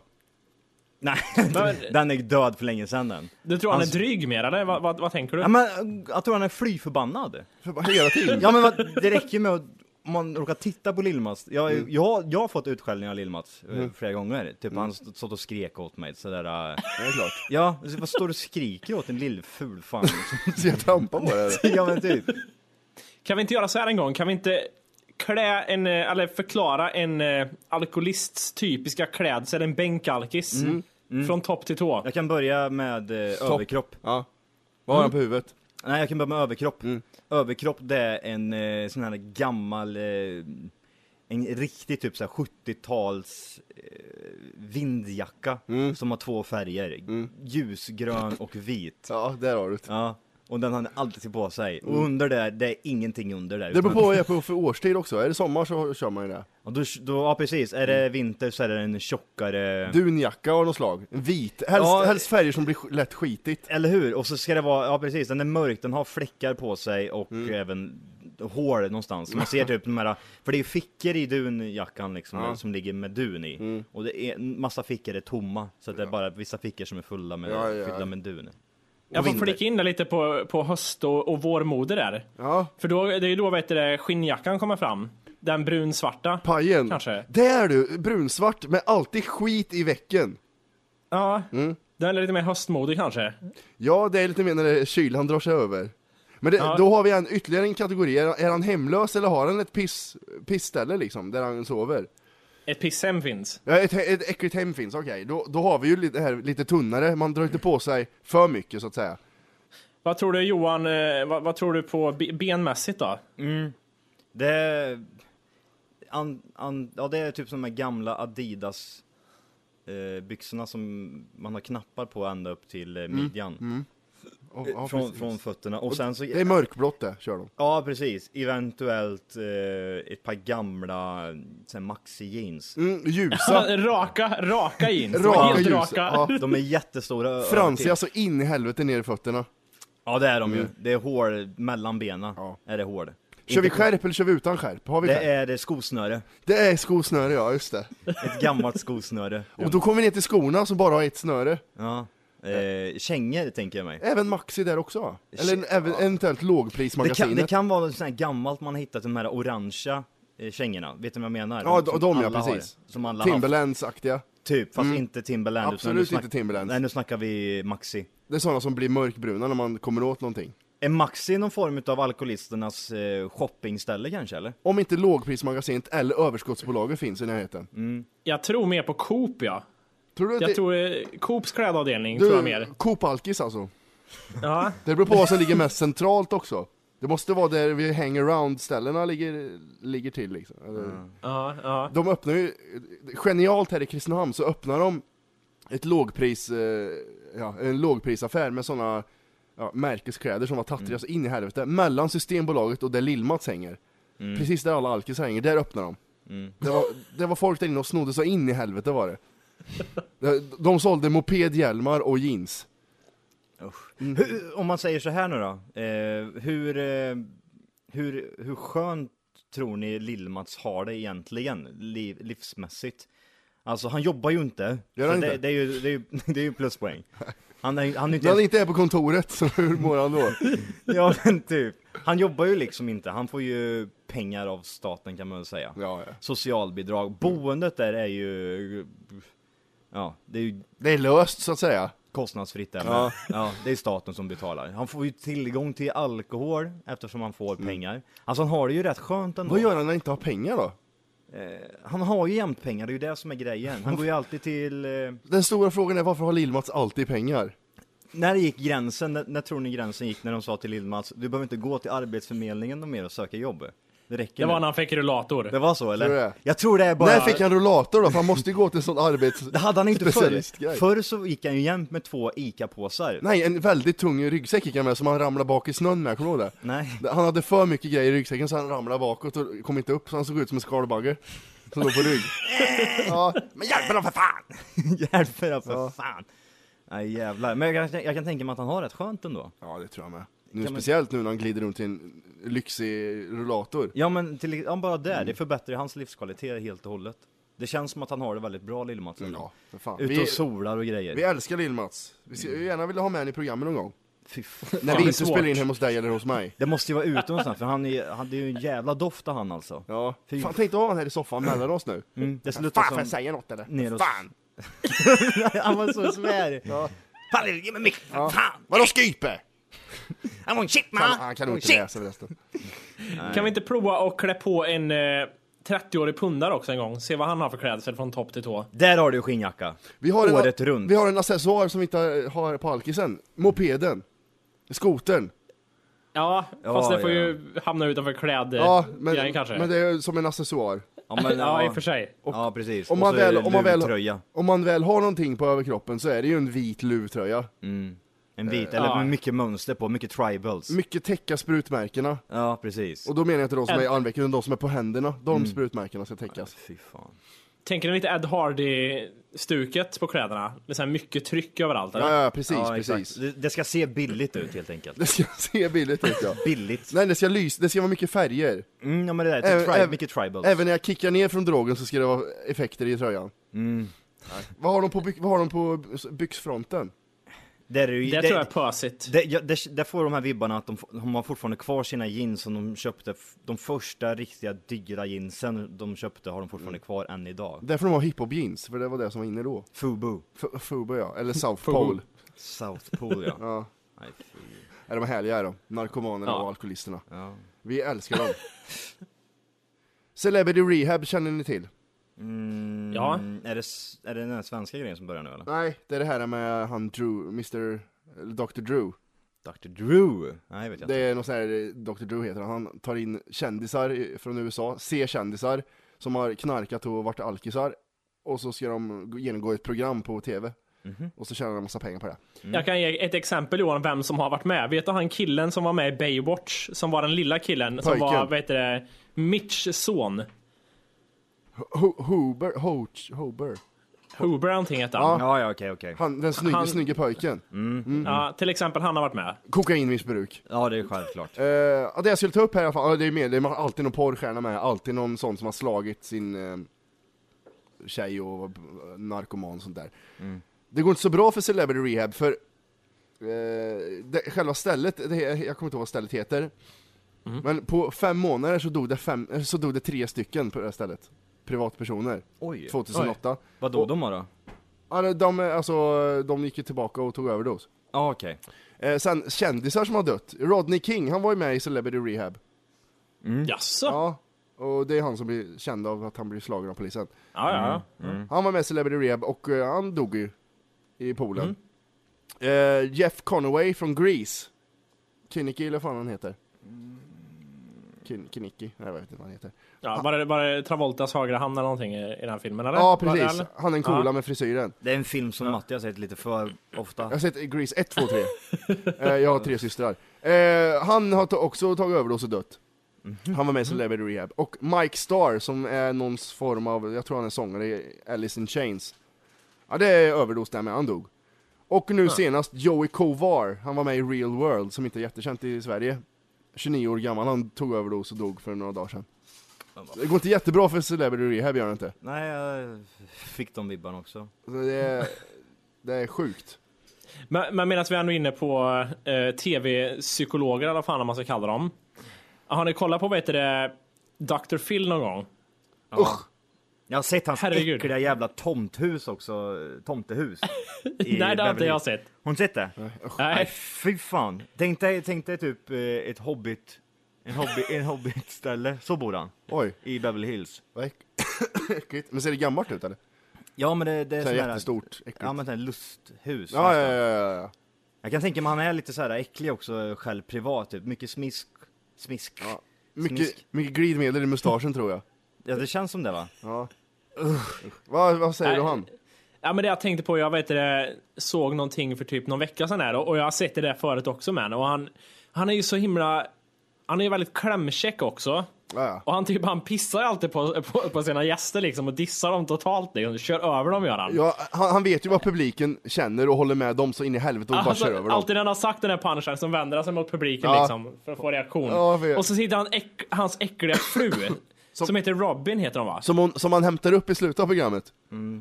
Speaker 2: nej,
Speaker 5: Men-
Speaker 2: den är död för länge sedan den.
Speaker 5: Du tror han
Speaker 2: Mm.
Speaker 5: är
Speaker 2: Alltså-
Speaker 5: dryg mer eller? Vad, vad, vad tänker du?
Speaker 2: Ja, men, jag tror han är fly förbannad.
Speaker 4: För bara hela tiden.
Speaker 2: Ja men vad, det räcker med att om man råkar titta på Lill-Mats. Jag,
Speaker 4: Mm.
Speaker 2: jag, jag har fått utskällningar av Lill-Mats eh, flera gånger. Typ
Speaker 4: Mm.
Speaker 2: han st- stått och skrek åt mig sådär. eh,
Speaker 4: Det är klart.
Speaker 2: Ja, alltså, vad står du och skriker åt en lillful fan? liksom?
Speaker 4: Så jag trampar på det. här.
Speaker 2: ja men typ.
Speaker 5: Kan vi inte göra så här en gång? Kan vi inte klä en, eh, eller förklara en eh, alkoholists typiska klädsel, en bänkalkis? Från topp till tå.
Speaker 2: Jag kan börja med eh, överkropp.
Speaker 4: Ja. Vad har han på huvudet?
Speaker 2: Nej jag kan börja med överkropp.
Speaker 4: Mm.
Speaker 2: Överkropp det är en eh, sån här gammal, eh, en riktig typ såhär 70-tals eh, vindjacka.
Speaker 4: Mm.
Speaker 2: Som har två färger. Ljusgrön och vit.
Speaker 4: Ja, där har du det.
Speaker 2: Ja, och den har han alltid på sig. Och under det, det är ingenting under där.
Speaker 4: Det beror på vad jag är på för årstid också. Är det sommar så kör man ju det.
Speaker 2: Och då, då, ja precis, är
Speaker 4: Mm.
Speaker 2: det vinter så är det en tjockare...
Speaker 4: Dunjacka av något slag. En vit. Helst,
Speaker 2: Ja.
Speaker 4: helst färger som blir sk- lätt skitigt.
Speaker 2: Eller hur? Och så ska det vara, ja precis, den är mörk, den har fläckar på sig och
Speaker 4: Mm.
Speaker 2: även hål någonstans. Man ser typ de här, för det är fickor i dunjackan liksom, som ligger med dun i.
Speaker 4: Mm.
Speaker 2: Och det är, en massa fickor är tomma, så att det är bara vissa fickor som är fulla med,
Speaker 4: Ja, ja.
Speaker 2: fyllda med dun.
Speaker 5: Jag får
Speaker 2: vinter.
Speaker 5: flika in där lite på, på höst och, och vårmode där.
Speaker 4: Ja.
Speaker 5: För då, det är ju då vet du, det, skinnjackan kommer fram. Den brunsvarta.
Speaker 4: Pajen.
Speaker 5: Kanske.
Speaker 4: Där du! Brunsvart med alltid skit i väcken.
Speaker 5: Ja. Den är lite mer höstmodig kanske.
Speaker 4: Ja, det är lite mer när det är kyl han drar sig över. Men det, då har vi en, ytterligare en kategori. Är, är han hemlös eller har han ett piss, pissställe liksom, där han sover?
Speaker 5: Ett pisshem finns.
Speaker 4: Ja, ett, ett äckligt hem finns, okej. Då, då har vi ju lite, här, lite tunnare, man drar inte på sig för mycket så att säga.
Speaker 5: Vad tror du Johan, eh, vad, vad tror du på be- benmässigt då?
Speaker 2: Det, an, an, ja, det är typ som de här gamla Adidas eh, byxorna som man har knappar på ända upp till eh, midjan.
Speaker 4: Ja, Mm. ja,
Speaker 2: Från,
Speaker 4: precis.
Speaker 2: från fötterna. Och sen så,
Speaker 4: Det är mörkblått det, kör de.
Speaker 2: ja precis, eventuellt eh, ett par gamla eh, så här maxi jeans.
Speaker 4: Mm, ljusa,
Speaker 5: Raka, raka jeans. De är
Speaker 4: raka
Speaker 5: helt
Speaker 4: ljus.
Speaker 5: raka.
Speaker 4: Ja.
Speaker 2: De är jättestora. över till.
Speaker 4: Mm. Fransiga så in i helvete ner i fötterna.
Speaker 2: Ja det är de ju. Det är hål mellan benen.
Speaker 4: Ja.
Speaker 2: Är det hål.
Speaker 4: Kör vi
Speaker 2: Inte-
Speaker 4: skärp eller kör vi utan skärp? Har vi
Speaker 2: Det
Speaker 4: skärp?
Speaker 2: är eh, skosnöre.
Speaker 4: Det är skosnöre ja, just det.
Speaker 2: Ett gammalt skosnöre.
Speaker 4: Och då kommer vi ner till skorna som bara har ett snöre.
Speaker 2: Ja. Eh, kängor tänker jag mig.
Speaker 4: Även Maxi där också va? Eller en,
Speaker 2: Shit,
Speaker 4: även, eventuellt
Speaker 2: Det kan,
Speaker 4: lågprismagasinet.
Speaker 2: det kan vara något sånt här gammalt man har hittat, de här orangea eh, kängorna, vet du vad jag menar?
Speaker 4: Ja,
Speaker 2: Som
Speaker 4: de, de ja,
Speaker 2: alla
Speaker 4: precis.
Speaker 2: Har, som alla har,
Speaker 4: Timberlands-aktiga.
Speaker 2: typ, fast inte Timberland. utan
Speaker 4: Absolut
Speaker 2: nu snack-
Speaker 4: inte Timberlands.
Speaker 2: Nej, nu snackar vi Maxi.
Speaker 4: Det är sådana som blir mörkbruna när man kommer åt någonting.
Speaker 2: Är Maxi någon form av alkoholisternas eh, shoppingställe kanske, eller?
Speaker 4: Om inte lågprismagasinet eller överskottsbolaget finns i närheten.
Speaker 5: Jag tror mer på Coop ja.
Speaker 4: Tror du att
Speaker 5: Mm. Jag
Speaker 4: det...
Speaker 5: tror eh, Coops klädavdelning tror jag
Speaker 4: Du,
Speaker 5: mer.
Speaker 4: Coop Alkis alltså.
Speaker 5: Ja.
Speaker 4: Det beror på vad som ligger mest centralt också. Det måste vara där vi hangaround-ställena ligger, ligger till liksom. Eller-
Speaker 5: Mm. Ja, ja.
Speaker 4: De öppnar ju, genialt här i Kristinehamn så öppnar de ett lågpris, eh, ja, en lågprisaffär med sådana ja, märkeskläder som var tattriga så in i helvete, mellan Systembolaget och där Lill-Mats hänger. Precis där alla alkis hänger, där öppnar de. Det, var, det var folk där inne och snodde så in i helvete var det. De- De sålde mopedhjälmar och jeans. Mm.
Speaker 2: Hur, om man säger så här nu då, eh, hur, eh, hur, hur skönt tror ni Lill-Mats har det egentligen, liv, livsmässigt? Alltså han jobbar ju inte,
Speaker 4: Gör
Speaker 2: så
Speaker 4: han
Speaker 2: det,
Speaker 4: inte?
Speaker 2: Det, är ju, det, är ju, det är ju pluspoäng. Han är, han är ju inte
Speaker 4: När han
Speaker 2: ens
Speaker 4: inte är på kontoret, så hur mår han då?
Speaker 2: Ja men typ, han jobbar ju liksom inte, han får ju pengar av staten kan man väl säga.
Speaker 4: Ja, ja.
Speaker 2: Socialbidrag, boendet där är ju, ja det är ju
Speaker 4: Det är löst så att säga.
Speaker 2: kostnadsfritt där men, ja. det är staten som betalar. Han får ju tillgång till alkohol eftersom han får pengar. Alltså han har det ju rätt skönt ändå.
Speaker 4: Mm. Vad gör han när han inte har pengar då?
Speaker 2: Han har ju jämt pengar, det är ju det som är grejen. Han går ju alltid till, eh,
Speaker 4: Den stora frågan är varför har Lill-Mats alltid pengar?
Speaker 2: när gick gränsen, när, när tror ni gränsen gick när de sa till Lill-Mals, du behöver inte gå till arbetsförmedlingen och mer och söka jobb. Det räcker
Speaker 5: Det var
Speaker 2: nu.
Speaker 5: när han fick rullator.
Speaker 2: Det var så eller?
Speaker 4: Tror du det?
Speaker 2: Jag tror det är bara...
Speaker 4: När fick han rullator då? För han måste ju gå till sån arbets...
Speaker 2: Det hade han inte förr.
Speaker 4: Specialistgrej.
Speaker 2: Förr så gick han ju jämt med två ICA-påsar.
Speaker 4: Nej, en väldigt tung ryggsäck gick han med som han ramlade bak i snön med, kommer du ihåg det?
Speaker 2: Nej.
Speaker 4: Han hade för mycket grejer i ryggsäcken så han ramlade bakåt och kom inte upp så han såg ut som en skalbagge. Som låg på rygg. Ja, men hjälp honom för fan!
Speaker 2: Hjälp mig då, för fan. Nej jävlar. Men jag kan, jag kan tänka mig att han har rätt skönt ändå.
Speaker 4: Ja, det tror jag med. Nu,
Speaker 2: Kan man-
Speaker 4: speciellt nu när han glider runt i en lyxig rullator.
Speaker 2: Ja men till, ja, bara där,
Speaker 4: Mm.
Speaker 2: det förbättrar ju hans livskvalitet helt och hållet. Det känns som att han har det väldigt bra lill
Speaker 4: Ja, för fan.
Speaker 2: Ute
Speaker 4: Vi,
Speaker 2: och solar och grejer.
Speaker 4: vi älskar Lill-Mats. Vi skulle gärna vilja ha med honom i programmet någon gång.
Speaker 2: Fy fan.
Speaker 4: När
Speaker 5: Ja,
Speaker 4: vi
Speaker 5: det är
Speaker 4: inte
Speaker 5: svårt.
Speaker 4: spelar in hemma hos dig eller hos mig.
Speaker 2: Det måste ju vara ute någonstans för han är, han, det är ju en jävla doft av han alltså.
Speaker 4: Ja.
Speaker 2: Fy-
Speaker 4: Fan, tänk dig ha honom här i soffan mellan oss nu.
Speaker 2: Mm, det
Speaker 4: Fan,
Speaker 2: slutar
Speaker 4: får jag
Speaker 2: som...
Speaker 4: säga något eller?
Speaker 2: Neråt.
Speaker 4: Fan!
Speaker 2: han var så svär.
Speaker 4: Ja.
Speaker 2: Fan, ge mig micken, fan!
Speaker 4: Vadå skype?
Speaker 2: Han var en shit
Speaker 4: Fan, han kan nog inte läsa förresten.
Speaker 5: Kan vi inte prova och klä på en eh, 30-årig pundare också en gång? Se vad han har för klädsel från topp till tå.
Speaker 2: Där har du skinnjacka.
Speaker 4: Vi har en,
Speaker 2: Året runt.
Speaker 4: Vi har en accessoar som vi inte har på alkisen. Mopeden. Skotern.
Speaker 5: Ja, fast
Speaker 2: Ja,
Speaker 5: det får
Speaker 2: ja.
Speaker 5: ju hamna utanför klädgrejen
Speaker 4: Ja, men,
Speaker 5: kanske.
Speaker 4: men det är som en accessoar.
Speaker 2: Ja, men,
Speaker 5: ja, i och för sig.
Speaker 2: ja precis.
Speaker 4: Om man, väl,
Speaker 2: en
Speaker 4: om, man väl,
Speaker 2: luvtröja.
Speaker 4: om man väl har någonting på överkroppen så är det ju en vit
Speaker 2: Mm.
Speaker 4: luvtröja.
Speaker 2: En
Speaker 4: Eh,
Speaker 2: vit, eller
Speaker 5: ja.
Speaker 2: med mycket mönster på, mycket tribals.
Speaker 4: Mycket täcka sprutmärkena.
Speaker 2: ja, precis.
Speaker 4: Och då menar jag inte de som är i
Speaker 5: Ed-
Speaker 4: armvecken, utan de som är på händerna. De
Speaker 2: Mm.
Speaker 4: sprutmärkena ska täckas.
Speaker 2: Fy fan.
Speaker 5: Tänker ni lite Ed Hardy-stuket på kläderna? Det är så här mycket tryck överallt. Eller?
Speaker 4: Ja, ja precis,
Speaker 2: ja, exakt.
Speaker 4: precis.
Speaker 2: Det, det ska se billigt ut helt enkelt.
Speaker 4: Det ska se billigt ut ja.
Speaker 2: Billigt.
Speaker 4: Nej, det ska lysa, det ska vara mycket färger.
Speaker 2: Mm, ja men det där,
Speaker 4: Även-
Speaker 2: typ tri-
Speaker 4: även-
Speaker 2: mycket tribals.
Speaker 4: Även när jag kickar ner från drogen så ska det vara effekter i tröjan. Vad, har de på byx- vad har de på byx- byxfronten?
Speaker 2: det, är ju,
Speaker 5: Det, tror jag är pösigt.
Speaker 2: det, ja, det, det får de här vibbarna att de, f- de har fortfarande kvar sina jeans som de köpte, f- de första riktiga dyra jeansen de köpte har de fortfarande
Speaker 4: Mm.
Speaker 2: kvar än idag.
Speaker 4: Därför de har hiphop jeans, för det var det som var inne då.
Speaker 2: Fubu.
Speaker 4: F- Fubo ja, eller South Pole.
Speaker 2: South Pole ja.
Speaker 4: Ja.
Speaker 2: Nej, fy.
Speaker 4: Är de härliga är de, narkomanerna
Speaker 5: Ja.
Speaker 4: och alkoholisterna.
Speaker 2: ja.
Speaker 4: Vi älskar dem. Celebrity Rehab känner ni till?
Speaker 2: Mm,
Speaker 5: Ja.
Speaker 2: Är det, s- är det den här svenska grejen som börjar nu eller?
Speaker 4: Nej, det är det här med han Drew, Mr... eller Dr Drew.
Speaker 2: Dr Drew? Nej, vet jag
Speaker 4: Det
Speaker 2: inte.
Speaker 4: är någon sån här, eh, Dr Drew heter han, han tar in kändisar i- från USA, C-kändisar, som har knarkat och varit alkisar. Och så ska de gå- genomgå ett program på TV. Och så tjänar de massa pengar på det.
Speaker 5: Jag kan ge ett exempel Johan, vem som har varit med. Vet du han killen som var med i Baywatch? Som var den lilla killen som
Speaker 4: Pojken.
Speaker 5: var, vad heter det, Mitchs son.
Speaker 4: Ho- Hober, Hoch, Hober.
Speaker 5: Huber någonting hette han.
Speaker 2: Ja, ja, okej, okej.
Speaker 4: Han, den snygge,
Speaker 5: Han-
Speaker 4: snygge pojken. mm.
Speaker 5: Ja, till exempel han har varit med.
Speaker 4: Kokainmissbruk.
Speaker 2: Ja, det är självklart.
Speaker 4: Eh, ja, det jag skulle ta upp här i alla fall, ja, det är med, det är alltid någon porrstjärna med, alltid någon sån som har slagit sin eh, tjej och eh, narkoman och sånt där. Det går inte så bra för Celebrity Rehab för eh, det, själva stället, det, jag kommer inte ihåg vad stället heter, men på fem månader så dog, det fem, eh, så dog det tre stycken på det här stället. Privatpersoner.
Speaker 2: Oj.
Speaker 4: 2008.
Speaker 2: Vadå de har då?
Speaker 4: Ja, de, alltså, de gick ju tillbaka och tog överdos.
Speaker 2: Ja, okej.
Speaker 4: Eh, sen kändisar som har dött. Rodney King, han var ju med i Celebrity Rehab.
Speaker 5: Jaså?
Speaker 4: Mm. Ja, och det är han som blir känd av att han blir slagen av polisen.
Speaker 5: Ja, ja, ja.
Speaker 4: Han var med i Celebrity Rehab och eh, han dog ju i poolen.
Speaker 5: Mm.
Speaker 4: Eh, Jeff Conaway från Grease. Kinnicky eller vad fan han heter.
Speaker 5: Mm.
Speaker 4: Kin- Kinnicky, nej jag vet inte vad han heter.
Speaker 5: ja var, det, var det Travoltas högra hand eller någonting i, i den här filmen eller?
Speaker 4: Ja
Speaker 5: Var det,
Speaker 4: precis,
Speaker 5: eller?
Speaker 4: han den coola
Speaker 5: Ja.
Speaker 4: med frisyren.
Speaker 2: Det är en film som Matti har sett lite för ofta.
Speaker 4: Jag har sett Grease 1, 2, 3. eh, jag har tre systrar. Eh, han har ta- också tagit överdos och dött. Han var med i Celebrity Rehab. Och Mike Starr som är någon form av, jag tror han är sångare i Alice in Chains. Ja det är överdos där med, han dog. Och nu senast Joey Kovar, han var med i Real World som inte är jättekänt i Sverige. 29 år gammal, han tog överdos och dog för några dagar sedan. Det går inte jättebra för Celebrity Rehab gör det inte.
Speaker 2: Nej, jag fick de vibbarna också.
Speaker 4: Så Det är, det är sjukt.
Speaker 5: Men, men medan vi ändå är inne på eh, tv-psykologer eller vad fan man ska kalla dem. Har ni kollat på vad heter det, Dr. Phil någon gång?
Speaker 4: Usch!
Speaker 2: Jag har sett hans
Speaker 5: Herregud.
Speaker 2: äckliga jävla tomthus också, tomtehus. i
Speaker 5: Nej det har inte
Speaker 2: Beverly
Speaker 5: jag
Speaker 2: Hills.
Speaker 5: sett.
Speaker 2: Har du sett det? Nej,
Speaker 5: Nej.
Speaker 2: fy fan. Tänk dig, tänk dig typ eh, ett hobbit, en hobby, en hobbitställe. Så bor han,
Speaker 4: Oj.
Speaker 2: i Beverly Hills.
Speaker 4: Vad äck- äckligt. Men ser det gammalt ut eller?
Speaker 2: Ja men det, det är
Speaker 4: Så här
Speaker 2: sån här-
Speaker 4: jättestort, äckligt.
Speaker 2: Ja men sån här lusthus.
Speaker 4: Ja, ja,
Speaker 2: nästan.
Speaker 4: ja, ja, ja.
Speaker 2: Jag kan tänka mig han är lite så här äcklig också själv privat typ. Mycket smisk, smisk. Ja,
Speaker 4: Mycket, mycket glidmedel i mustaschen tror jag.
Speaker 2: ja det känns som det va?
Speaker 4: Ja. Vad, vad säger
Speaker 5: Nej.
Speaker 4: du om han?
Speaker 5: Ja men det jag tänkte på, jag vet det, såg någonting för typ någon vecka sedan här och och jag har sett det där förut också men och han, han är ju så himla, han är ju väldigt klämkäck också.
Speaker 4: Ja, ja.
Speaker 5: Och han typ han pissar ju alltid på, på, på sina gäster liksom och dissar dem totalt liksom, kör över dem gör han.
Speaker 4: Ja, han, han vet ju vad publiken känner och håller med dem så in i helvete och bara kör över dem.
Speaker 5: Alltså, alltid när han har sagt den här punchen så vänder han sig mot publiken
Speaker 4: Ja.
Speaker 5: liksom för att få reaktion.
Speaker 4: Ja, för-
Speaker 5: och så sitter han äck, hans äckliga fru, som, heter Robin heter hon va?
Speaker 4: Som, hon, som han hämtar upp i slutet av programmet.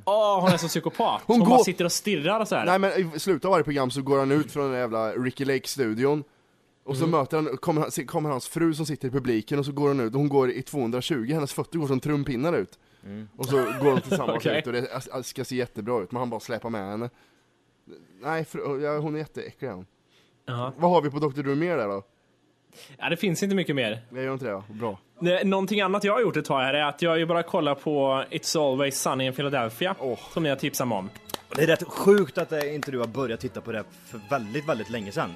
Speaker 5: Åh hon är så psykopat.
Speaker 4: Hon
Speaker 5: Hon,
Speaker 4: går-
Speaker 5: bara sitter och stirrar så
Speaker 4: Nej
Speaker 5: här.
Speaker 4: men i slutet av varje program så går han ut från den jävla Ricky Lake-studion. Och så möter han, kommer, han- se- kommer hans fru som sitter i publiken och så går hon ut, och hon går i 220, hennes fötter går som trumpinnar ut. Och så går de tillsammans
Speaker 5: Okej.
Speaker 4: ut och det det ska se jättebra ut, men han bara släpar med henne. Nej, för, ja, hon är jätteäcklig hon.
Speaker 5: Ja.
Speaker 4: Vad har vi på Dr. Drew mer där då?
Speaker 5: Ja, det finns inte mycket mer.
Speaker 4: Jag gör inte det, ja. bra.
Speaker 5: Nej, Någonting annat jag har gjort ett tag här är att jag har ju bara kollar på It's Always Sunny in Philadelphia, som ni har tipsat mig om.
Speaker 2: Det är rätt sjukt att eh, inte du har börjat titta på det här för väldigt, väldigt länge sedan.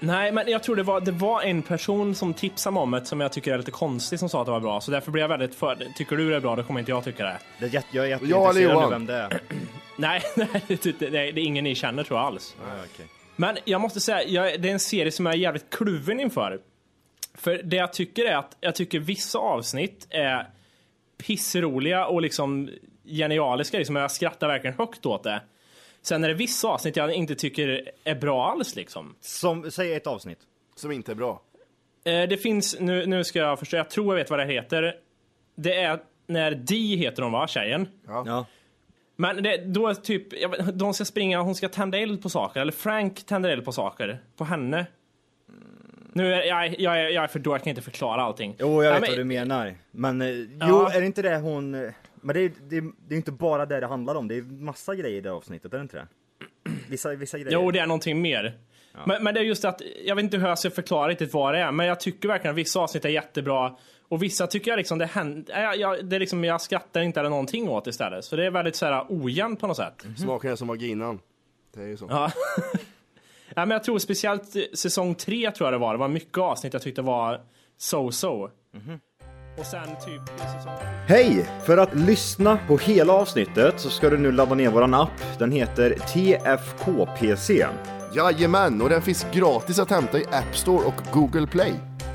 Speaker 5: Nej, men jag tror det var, det var en person som tipsade mig om det som jag tycker är lite konstig som sa att det var bra, så därför blir jag väldigt för... Tycker du det är bra, då kommer inte jag tycka det.
Speaker 2: Det är jätte, jag är
Speaker 4: Ja, eller
Speaker 2: jätteintresserad
Speaker 4: Johan.
Speaker 2: av vem det är.
Speaker 5: Nej, nej, det, det, det är ingen ni känner tror jag alls.
Speaker 2: Ja, okej.
Speaker 5: Men jag måste säga, jag, det är en serie som jag är jävligt kluven inför. För det jag tycker är att jag tycker vissa avsnitt är pissroliga och liksom genialiska. Liksom, jag skrattar verkligen högt åt det. Sen är det vissa avsnitt jag inte tycker är bra alls liksom.
Speaker 2: Som, säg ett avsnitt.
Speaker 4: Som inte är bra.
Speaker 5: Eh, det finns, nu, nu ska jag förstå, jag tror jag vet vad det heter. Det är när Dee heter hon va, tjejen?
Speaker 2: Ja.
Speaker 5: Men det, då är typ, jag vet, de ska springa, hon ska tända eld på saker, eller Frank tänder eld på saker, på henne. Nu är jag, jag, är- jag är för dålig, jag kan inte förklara allting.
Speaker 2: Jo, jag
Speaker 5: Ja,
Speaker 2: vet
Speaker 5: men-
Speaker 2: vad du menar. Men eh, jo, är det inte det hon... eh, Men det är, det, är, det är inte bara det det handlar om, det är massa grejer i det avsnittet, är det inte det? Vissa, vissa grejer.
Speaker 5: Jo, det är någonting mer. Men, men det är just att, jag vet inte hur jag ska förklara riktigt vad det är, men jag tycker verkligen att vissa avsnitt är jättebra. Och vissa tycker jag liksom, det händer, jag, jag, det är liksom, jag skrattar inte eller någonting åt istället. Så det är väldigt så här ojämnt på något sätt.
Speaker 4: Smaken är som vaginan. Det är ju så.
Speaker 5: Ja. Nej, men jag tror speciellt eh, säsong tre tror jag det var. Det var mycket avsnitt jag tyckte var so-so.
Speaker 1: Mhm.
Speaker 5: Och sen typ i säsong...
Speaker 2: Hej! För att lyssna på hela avsnittet så ska du nu ladda ner våran app. Den heter TFKPC.
Speaker 4: Jajamän, och den finns gratis att hämta i App Store och Google Play.